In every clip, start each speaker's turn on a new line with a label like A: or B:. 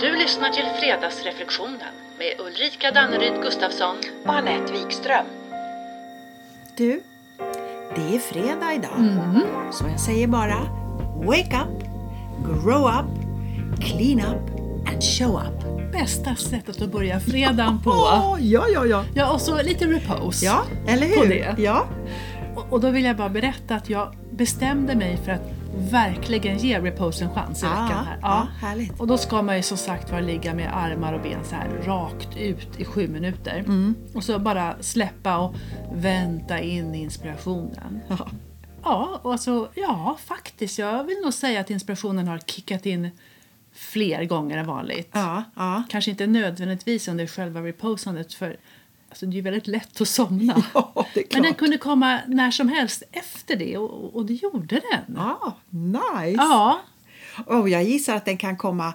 A: Du lyssnar till Fredagsreflektionen med Ulrika Danneryd Gustafsson.
B: och Anette Wikström.
C: Du, det är fredag idag. Så jag säger bara Wake up, grow up, clean up and show up.
D: Bästa sättet att börja fredagen på.
C: Åh, ja, ja, ja.
D: Ja, och så lite repose.
C: Ja, eller hur?
D: På det.
C: Ja.
D: Och, och då vill jag bara berätta att jag bestämde mig för att verkligen ge repose en chans i
C: Ja,
D: veckan här.
C: Ah, ja, härligt.
D: Och då ska man ju som sagt var ligga med armar och ben så här rakt ut i sju minuter.
C: Mm.
D: Och så bara släppa och vänta in inspirationen.
C: Ja.
D: Ja, och alltså, ja, faktiskt. Jag vill nog säga att inspirationen har kickat in fler gånger än vanligt.
C: Ja, ja.
D: Kanske inte nödvändigtvis under själva reposandet för alltså, det är ju väldigt lätt att somna.
C: Ja, det är klart.
D: Men den kunde komma när som helst efter det och, och det gjorde den.
C: Ah, nice!
D: Ja,
C: Och jag gissar att den kan komma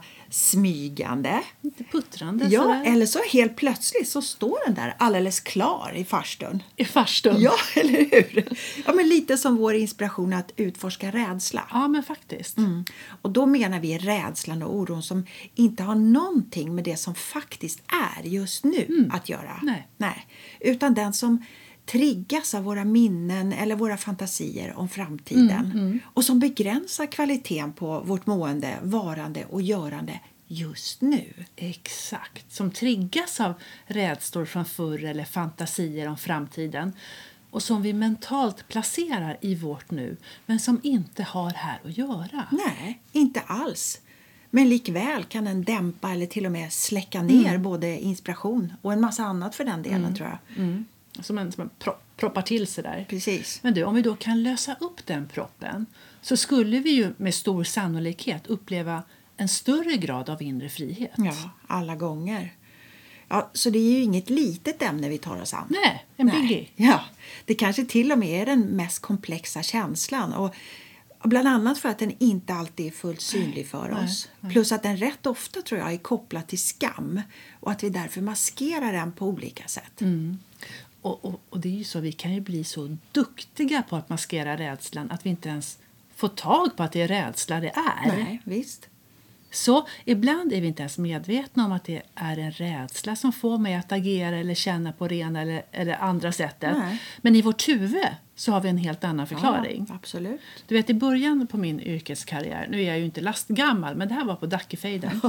C: smygande.
D: lite puttrande
C: Ja,
D: sådär.
C: eller så helt plötsligt så står den där alldeles klar i farstun.
D: i farstun.
C: Ja, eller hur? Ja, men lite som vår inspiration att utforska rädsla.
D: ja, men faktiskt.
C: Mm. Och då menar vi rädslan och oron som inte har någonting med det som faktiskt är just nu att göra.
D: Nej.
C: Utan den som triggas av våra minnen eller våra fantasier om framtiden och som begränsar kvaliteten på vårt mående, varande och görande just nu.
D: Exakt, som triggas av rädslor från förr eller fantasier om framtiden och som vi mentalt placerar i vårt nu men som inte har här att göra.
C: Nej, inte alls. Men likväl kan den dämpa eller till och med släcka ner både inspiration och en massa annat för den delen tror jag.
D: Som en, som en pro- proppar till sig där.
C: Mm. Precis.
D: Men du, om vi då kan lösa upp den proppen så skulle vi ju med stor sannolikhet uppleva en större grad av inre frihet.
C: Ja, alla gånger. Ja, så det är ju inget litet ämne vi tar oss an.
D: Nej, en biggie.
C: Ja, det kanske till och med är den mest komplexa känslan. Och bland annat för att den inte alltid är fullt synlig för oss. Plus att den rätt ofta tror jag är kopplad till skam och att vi därför maskerar den på olika sätt.
D: Mm. Och, och, och det är ju så, vi kan ju bli så duktiga på att maskera rädslan att vi inte ens får tag på att det är rädsla det är.
C: Nej, visst.
D: Så ibland är vi inte ens medvetna om att det är en rädsla som får mig att agera eller känna på det ena eller, eller andra sättet.
C: Nej.
D: Men i vårt huvud så har vi en helt annan förklaring.
C: Ja, absolut.
D: Du vet i början på min yrkeskarriär, nu är jag ju inte lastgammal men det här var på Dackefejden.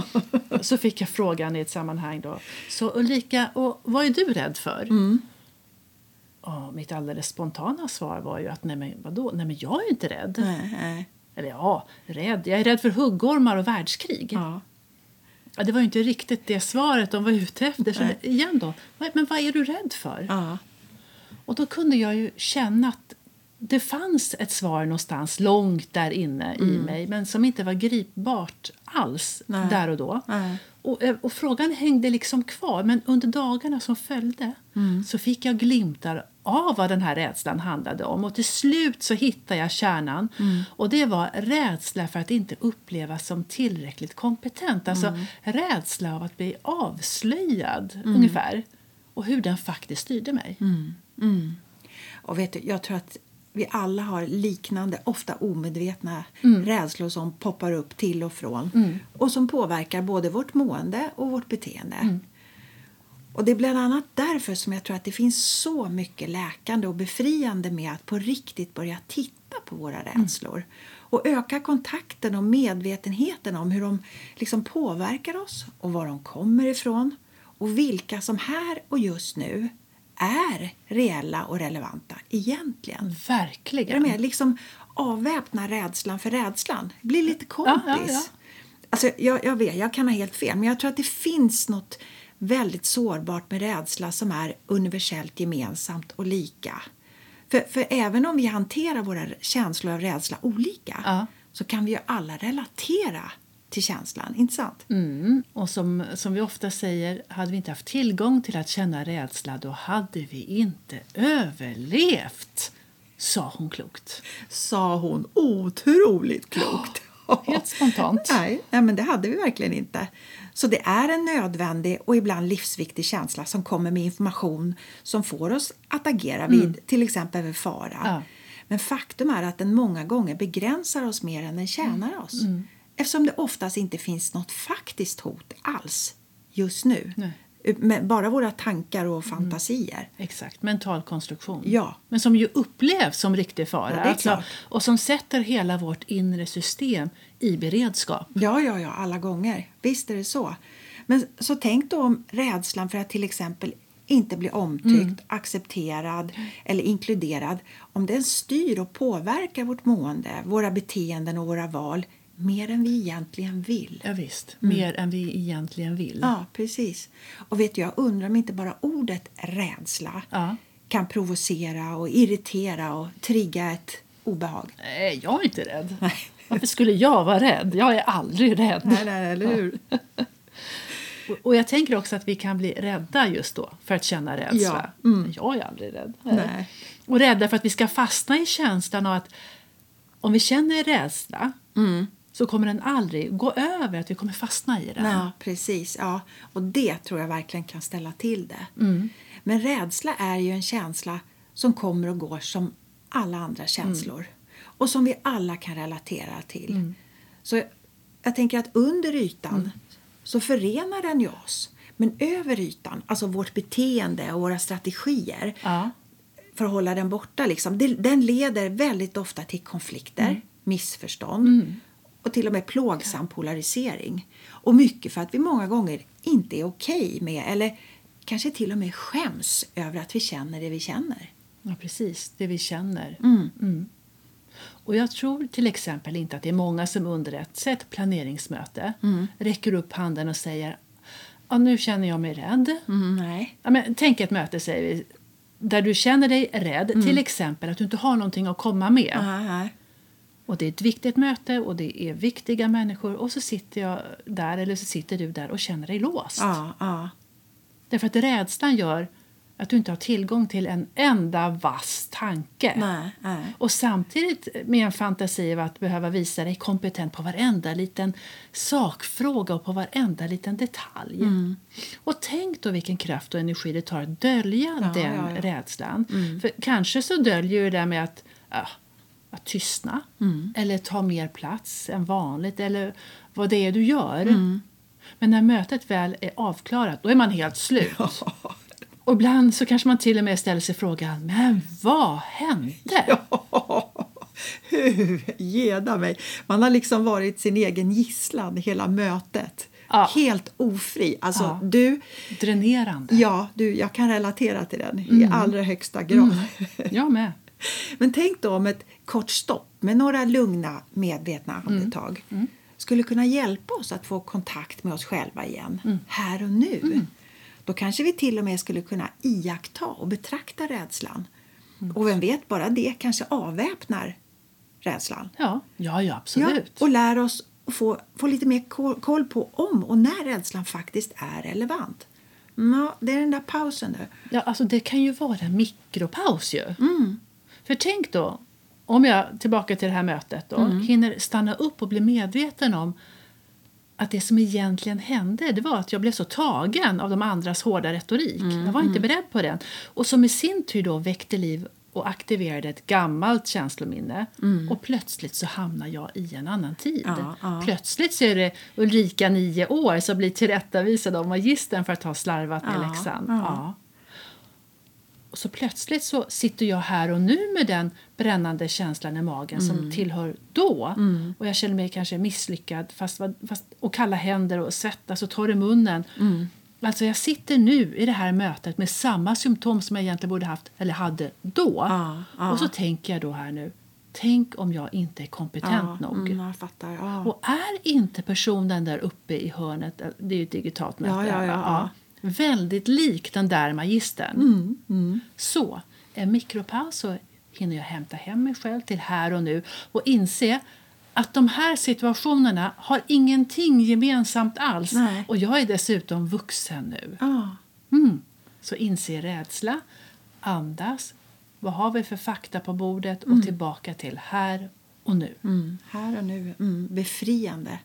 D: så fick jag frågan i ett sammanhang då. Så Ulrika, och vad är du rädd för?
C: Mm.
D: Ja, mitt alldeles spontana svar var ju att nej men vadå, nej men jag är inte rädd.
C: Nej, nej.
D: Eller ja, rädd, jag är rädd för huggormar och världskrig.
C: Ja.
D: Ja, det var ju inte riktigt det svaret de var ute efter. Så igen då, vad- men vad är du rädd för?
C: Ja.
D: Och då kunde jag ju känna att det fanns ett svar någonstans långt där inne i mig men som inte var gripbart alls
C: Mm. Nej.
D: där och då.
C: Nej.
D: Och, eh, och frågan hängde liksom kvar men under dagarna som följde
C: Mm.
D: så fick jag glimtar av vad den här rädslan handlade om och till slut så hittade jag kärnan
C: Mm.
D: och det var rädsla för att inte upplevas som tillräckligt kompetent. Alltså
C: Mm.
D: rädsla av att bli avslöjad ungefär och hur den faktiskt styrde mig.
C: Och vet du, jag tror att vi alla har liknande, ofta omedvetna rädslor som poppar upp till och från och som påverkar både vårt mående och vårt beteende. Och Det är bland annat därför som jag tror att det finns så mycket läkande och befriande med att på riktigt börja titta på våra rädslor och öka kontakten och medvetenheten om hur de liksom påverkar oss och var de kommer ifrån och vilka som här och just nu är reella och relevanta egentligen. Är
D: Verkligen.
C: du med? Liksom avväpna rädslan för rädslan. Bli lite kompis.
D: Ja, ja, ja.
C: Alltså, jag, jag vet, jag kan ha helt fel, men jag tror att det finns något väldigt sårbart med rädsla som är universellt gemensamt och lika. För, för även om vi hanterar våra känslor av rädsla olika
D: Ja.
C: så kan vi ju alla relatera till känslan, inte sant?
D: Mm. Och som, som vi ofta säger, hade vi inte haft tillgång till att känna rädsla då hade vi inte överlevt, sa hon klokt.
C: Sa hon otroligt klokt.
D: Helt spontant.
C: Nej, nej, men det hade vi verkligen inte. Så det är en nödvändig och ibland livsviktig känsla som kommer med information som får oss att agera vid till exempel vid fara.
D: Mm. Ja. Mm.
C: Men faktum är att den många gånger begränsar oss mer än den tjänar oss. Eftersom det oftast inte finns något faktiskt hot alls just nu.
D: Nej.
C: Men bara våra tankar och fantasier.
D: Exakt, mental konstruktion.
C: Ja.
D: Men som ju upplevs som riktig fara. alltså,
C: Ja, det är klart.
D: och som sätter hela vårt inre system i beredskap.
C: Ja, ja, ja, alla gånger. Visst är det så. Men så tänk då om rädslan för att till exempel inte bli omtyckt, accepterad eller inkluderad om den styr och påverkar vårt mående, våra beteenden och våra val mer än vi egentligen vill.
D: Ja, visst, mer än vi egentligen vill.
C: Mm. Ja, precis. Och vet du, jag undrar om inte bara ordet rädsla
D: Ja.
C: kan provocera och irritera och trigga ett obehag.
D: Nej, jag är inte rädd.
C: Nej.
D: Varför skulle jag vara rädd? Jag är aldrig rädd.
C: nej, eller hur?
D: Och- Och jag tänker också att vi kan bli rädda just då för att känna rädsla. Mm, Jag är aldrig rädd.
C: Nej.
D: Och rädda för att vi ska fastna i känslan av att om vi känner rädsla så kommer den aldrig gå över, att vi kommer fastna i den.
C: Ja, precis. Ja. Och det tror jag verkligen kan ställa till det. Men rädsla är ju en känsla som kommer och går som alla andra känslor och som vi alla kan relatera till. Så jag- jag tänker att under ytan så förenar den ju oss. Men över ytan, alltså vårt beteende och våra strategier
D: Ja.
C: för att hålla den borta, liksom, det- den leder väldigt ofta till konflikter,
D: Mm.
C: missförstånd och till och med plågsam polarisering. Och mycket för att vi många gånger inte är okej med eller kanske till och med skäms över att vi känner det vi känner.
D: Ja, precis. Det vi känner. Mm. Och jag tror till exempel inte att det är många som under ett, ett planeringsmöte räcker upp handen och säger ja, nu känner jag mig rädd.
C: Nej.
D: Ja, men, tänk ett möte säger vi, där du känner dig rädd,
C: Mm.
D: till exempel att du inte har någonting att komma med.
C: Nej.
D: Och det är ett viktigt möte och det är viktiga människor och så sitter jag där eller så sitter du där och känner dig låst.
C: Ja, ja.
D: Därför att rädslan gör att du inte har tillgång till en enda vass tanke.
C: Nej, nej.
D: Och samtidigt med en fantasi av att behöva visa dig kompetent på varenda liten sakfråga och på varenda liten detalj.
C: Mm.
D: Och tänk då vilken kraft och energi det tar att dölja den
C: ja, Mm. ja.
D: rädslan. För kanske så döljer ju det där med att, ja, att tystna
C: Mm.
D: eller ta mer plats än vanligt eller vad det är du gör.
C: Mm.
D: Men när mötet väl är avklarat, då är man helt slut. Och ibland så kanske man till och med ställer sig frågan, men vad hände?
C: Hur? Geda mig! Man har liksom varit sin egen gisslan hela mötet.
D: Ja.
C: Helt ofri. Alltså,
D: Ja.
C: du,
D: Dränerande.
C: ja, du, jag kan relatera till den
D: Mm.
C: i allra högsta grad.
D: Jag med.
C: Men tänk då om ett kort stopp med några lugna, medvetna
D: Mm.
C: andetag skulle kunna hjälpa oss att få kontakt med oss själva igen,
D: Mm.
C: här och nu. Då kanske vi till och med skulle kunna iaktta och betrakta rädslan.
D: Mm.
C: Och vem vet, bara det kanske avväpnar rädslan.
D: Ja, ja, ja absolut.
C: och lär oss att få, få lite mer ko- koll på om och när rädslan faktiskt är relevant. Mm, Ja, det är den där pausen nu.
D: Ja, alltså det kan ju vara en mikropaus ju.
C: Mm.
D: För tänk då, om jag tillbaka till det här mötet då,
C: Mm.
D: hinner stanna upp och bli medveten om att det som egentligen hände det var att jag blev så tagen av de andras hårda retorik.
C: Mm,
D: Jag var inte beredd på den. Och som i sin tur då väckte liv och aktiverade ett gammalt känslominne. Och plötsligt så hamnar jag i en annan tid.
C: Mm. Ja, ja.
D: Plötsligt så är det Ulrika, nio år, som blir tillrättavisad av magistern för att ha slarvat med
C: Ja,
D: läxan.
C: ja.
D: Ja. Och så plötsligt så sitter jag här och nu med den brännande känslan i magen
C: Mm.
D: som tillhör då. Och jag känner mig kanske misslyckad fast, fast, och kalla händer och svettas och torr i munnen.
C: Mm.
D: Alltså jag sitter nu i det här mötet med samma symptom som jag egentligen borde haft eller hade då.
C: Ja, ja.
D: Och så tänker jag då här nu, tänk om jag inte är kompetent nog.
C: Mm, jag fattar. Ja.
D: Och är inte personen där uppe i hörnet, eh, det är ju ett digitalt möte,
C: Ja, ja,
D: va?
C: ja, ja. Mm,
D: väldigt lik den där magistern. Så, en mikropaus så hinner jag hämta hem mig själv till här och nu och inse att de här situationerna har ingenting gemensamt alls.
C: Nej.
D: Och jag är dessutom vuxen nu.
C: Ja.
D: Mm. Så inse rädsla, andas, vad har vi för fakta på bordet och tillbaka till här och nu.
C: Mm, här och nu. Mm, befriande.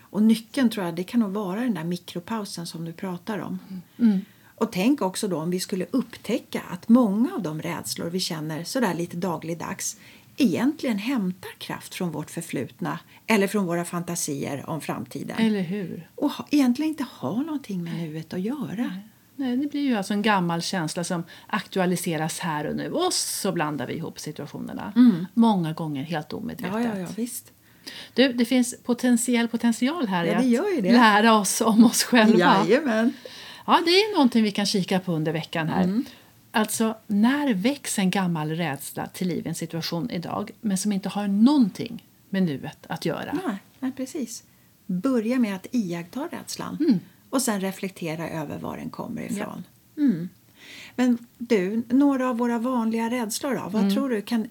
C: Och nyckeln tror jag det kan nog vara den där mikropausen som du pratar om. Mm. Och tänk också då om vi skulle upptäcka att många av de rädslor vi känner sådär lite dagligdags egentligen hämtar kraft från vårt förflutna eller från våra fantasier om framtiden.
D: Eller hur?
C: Och ha, egentligen inte har någonting med nuet att göra.
D: Nej, det blir ju alltså en gammal känsla som aktualiseras här och nu och så blandar vi ihop situationerna. Många gånger helt omedvetet.
C: Mm. Ja, ja, ja, visst.
D: Du, det finns potentiell potential här
C: Ja, det
D: i
C: gör ju
D: att
C: det.
D: lära oss om oss själva.
C: Jajamän.
D: Ja, det är någonting vi kan kika på under veckan här.
C: Mm.
D: Alltså, när väcks en gammal rädsla till liv i en situation idag men som inte har någonting med nuet att göra?
C: Nej, nej, Ah, precis. Börja med att iaktta rädslan och sen reflektera över var den kommer ifrån. Mm. Men du, några av våra vanliga rädslor då? Vad tror du? Kan,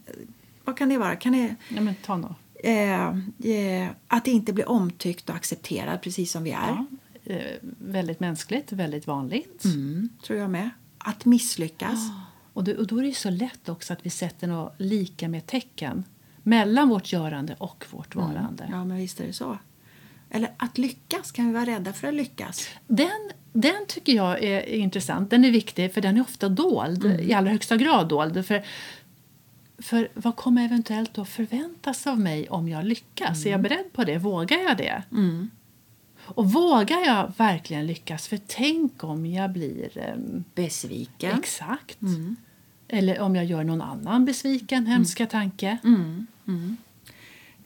C: vad kan det vara? Kan det,
D: Ja, men ta nå.
C: eh, eh, att inte bli omtyckt och accepterad precis som vi är,
D: Ja, eh, väldigt mänskligt, väldigt vanligt.
C: Mm. tror jag med. Att misslyckas.
D: Och, det, och då är det ju så lätt också att vi sätter något lika med tecken mellan vårt görande och vårt varande.
C: Ja, men visst är det så. Eller att lyckas. Kan vi vara rädda för att lyckas?
D: Den, den tycker jag är intressant. Den är viktig, för den är ofta dold. I allra högsta grad dold. För, för vad kommer eventuellt då förväntas av mig om jag lyckas? Är jag beredd på det? Vågar jag det? Och vågar jag verkligen lyckas? För tänk om jag blir... ehm,
C: Besviken.
D: Exakt. Eller om jag gör någon annan besviken, hemska tanke.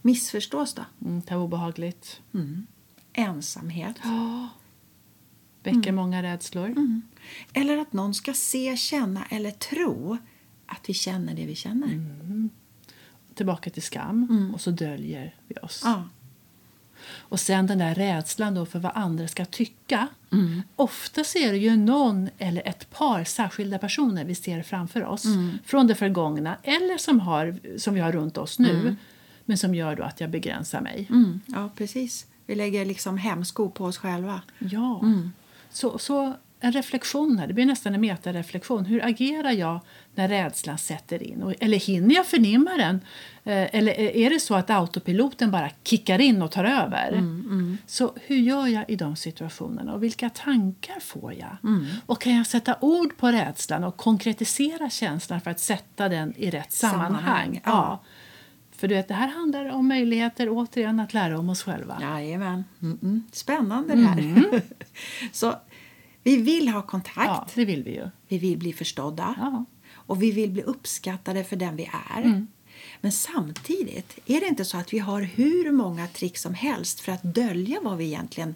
C: Missförstås då?
D: Mm, det här var obehagligt.
C: Ensamhet.
D: Väcker många rädslor.
C: Eller att någon ska se, känna eller tro att vi känner det vi känner.
D: Tillbaka till skam och så döljer vi oss.
C: Ja.
D: Och sen den där rädslan då för vad andra ska tycka. Ofta ser det ju någon eller ett par särskilda personer vi ser framför oss från det förgångna eller som, har, som vi har runt oss nu men som gör då att jag begränsar mig.
C: Mm. ja, precis. Vi lägger liksom hemsko på oss själva.
D: Ja.
C: Mm.
D: Så, så en reflektion här, det blir nästan en metareflektion. Hur agerar jag när rädslan sätter in? Och- Eller hinner jag förnimma den? Eh, Eller är det så att autopiloten bara kickar in och tar över?
C: Mm,
D: Så hur gör jag i de situationerna och vilka tankar får jag?
C: Mm.
D: Och kan jag sätta ord på rädslan och konkretisera känslan för att sätta den i rätt sammanhang?
C: Sammanhang, ja.
D: Ja. För du vet, det här handlar om möjligheter återigen att lära om oss själva.
C: Jajamän. Mm, mm. Spännande det här. Så vi vill ha kontakt.
D: ja, det vill vi ju.
C: Vi vill bli förstådda.
D: Ja.
C: Och vi vill bli uppskattade för den vi är. Men samtidigt, är det inte så att vi har hur många trick som helst för att dölja vad vi egentligen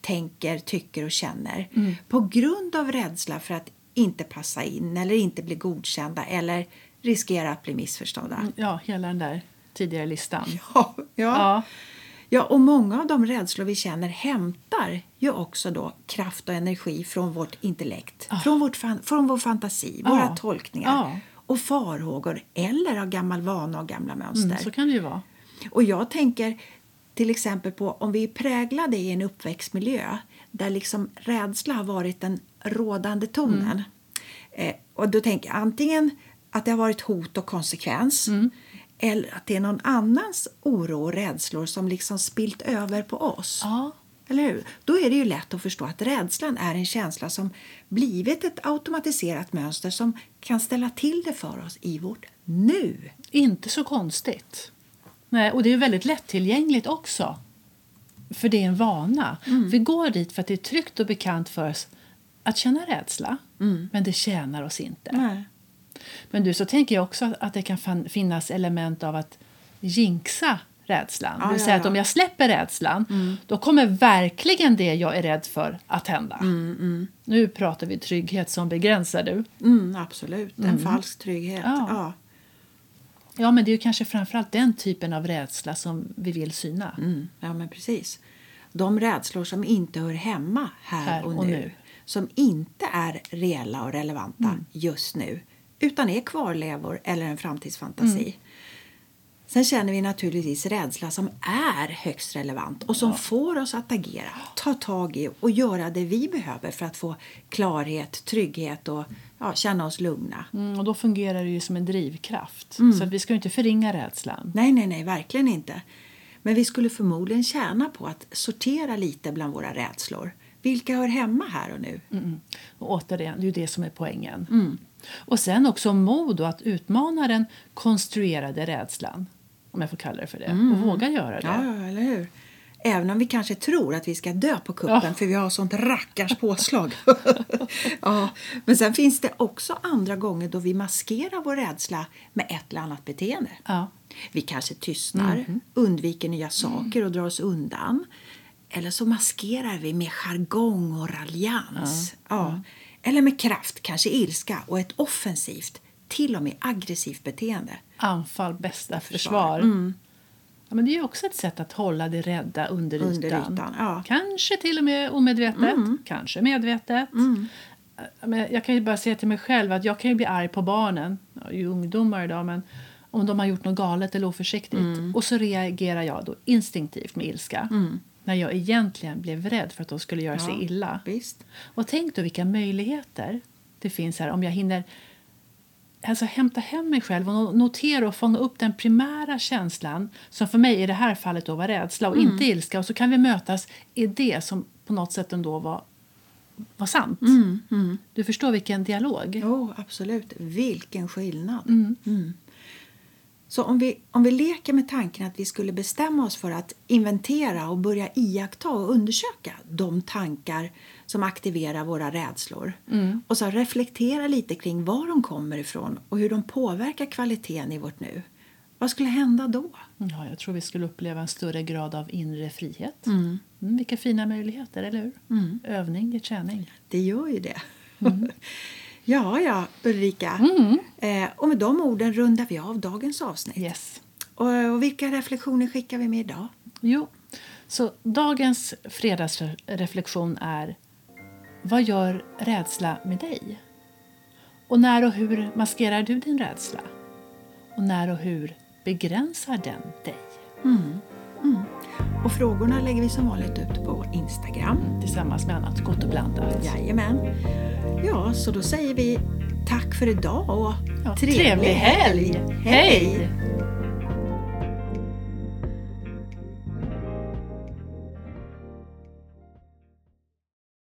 C: tänker, tycker och känner på grund av rädsla för att inte passa in eller inte bli godkända eller riskera att bli missförstådda?
D: Ja, hela den där tidigare listan.
C: Ja, ja.
D: Ja.
C: ja. och många av de rädslor vi känner hämtar ju också då kraft och energi från vårt intellekt,
D: Ah.
C: från, vårt fan, från vår fantasi,
D: Ja.
C: våra tolkningar
D: Ja.
C: och farhågor eller av gammal vana och gamla mönster.
D: Mm, så kan det ju vara.
C: Och jag tänker till exempel på om vi är präglade i en uppväxtmiljö där liksom rädsla har varit den rådande tonen. Eh, och då tänker jag antingen att det har varit hot och konsekvens eller att det är någon annans oro och rädslor som liksom spilt över på oss.
D: Ja.
C: Eller hur? Då är det ju lätt att förstå att rädslan är en känsla som blivit ett automatiserat mönster som kan ställa till det för oss i vårt nu.
D: Inte så konstigt. Nej, och det är ju väldigt lättillgängligt också. För det är en vana.
C: Mm.
D: Vi går dit för att det är tryggt och bekant för oss att känna rädsla.
C: Mm.
D: Men det tjänar oss inte. Men du, så tänker jag också att det kan fan- finnas element av att jinxa rädslan.
C: Ja,
D: det vill
C: ja,
D: säga att
C: ja. Mm.
D: om jag släpper rädslan då kommer verkligen det jag är rädd för att hända. Nu pratar vi trygghet som begränsar du.
C: Mm, absolut, en falsk trygghet.
D: Ja.
C: Ja.
D: Ja, men det är ju kanske framförallt den typen av rädsla som vi vill syna.
C: Mm, ja, men precis. De rädslor som inte hör hemma här,
D: Här
C: och,
D: och
C: nu, Mm.
D: nu.
C: Som inte är reella och relevanta just nu. Utan är kvarlevor eller en framtidsfantasi. Sen känner vi naturligtvis rädsla som är högst relevant och som får oss att agera, ta tag i och göra det vi behöver för att få klarhet, trygghet och ja, känna oss lugna.
D: Mm, och då fungerar det ju som en drivkraft. Så att vi ska ju inte förringa rädslan.
C: Nej, nej, nej, verkligen inte. Men vi skulle förmodligen tjäna på att sortera lite bland våra rädslor Vilka hör hemma här och nu?
D: Mm. Och återigen, det är ju det som är poängen. Och sen också mod och att utmana den konstruerade rädslan. Om jag får kalla det för det. Och våga göra det.
C: Ja, ja, eller hur? Även om vi kanske tror att vi ska dö på kuppen
D: Ja.
C: för vi har sånt rackars påslag. ja. Men sen finns det också andra gånger då vi maskerar vår rädsla med ett eller annat beteende.
D: Ja. Mhm. Mm.
C: Vi kanske tystnar, undviker nya saker och drar oss undan. Eller så maskerar vi med jargong och raljans. Ja. Eller med kraft, kanske ilska och ett offensivt, till och med aggressivt beteende.
D: Anfall bästa försvar.
C: Mm.
D: Ja, men det är ju också ett sätt att hålla det rädda under ytan.
C: Under ytan, ja. Mm.
D: Kanske till och med omedvetet, kanske medvetet. Ja, Men jag kan ju bara säga till mig själv att jag kan ju bli arg på barnen, jag är ju ungdomar idag, men om de har gjort något galet eller oförsiktigt.
C: Mm.
D: Och så reagerar jag då instinktivt med ilska. När jag egentligen blev rädd för att de skulle göra sig illa.
C: Visst.
D: Och tänk då vilka möjligheter det finns här om jag hinner alltså, hämta hem mig själv och no- notera och fånga upp den primära känslan som för mig i det här fallet då var rädsla och inte ilska och så kan vi mötas i det som på något sätt ändå var, var sant. Du förstår vilken dialog.
C: Jo, absolut. Vilken skillnad. Mm. Så om vi, om vi leker med tanken att vi skulle bestämma oss för att inventera och börja iaktta och undersöka de tankar som aktiverar våra rädslor och så reflektera lite kring var de kommer ifrån och hur de påverkar kvaliteten i vårt nu. Vad skulle hända då?
D: Ja, jag tror vi skulle uppleva en större grad av inre frihet. Mm, vilka fina möjligheter, eller hur? Övning är träning.
C: Det gör ju det. ja, ja, Ulrika. Eh, och med de orden rundar vi av dagens avsnitt.
D: Yes.
C: Och, och vilka reflektioner skickar vi med idag?
D: Jo, så dagens fredagsreflektion är Vad gör rädsla med dig? Och när och hur maskerar du din rädsla? Och när och hur begränsar den dig?
C: Och frågorna lägger vi som vanligt ut på Instagram.
D: Tillsammans med annat gott och blandat.
C: Jajamän. Ja, så då säger vi tack för idag och
D: Ja, trevlig helg! Hej!
C: Hej!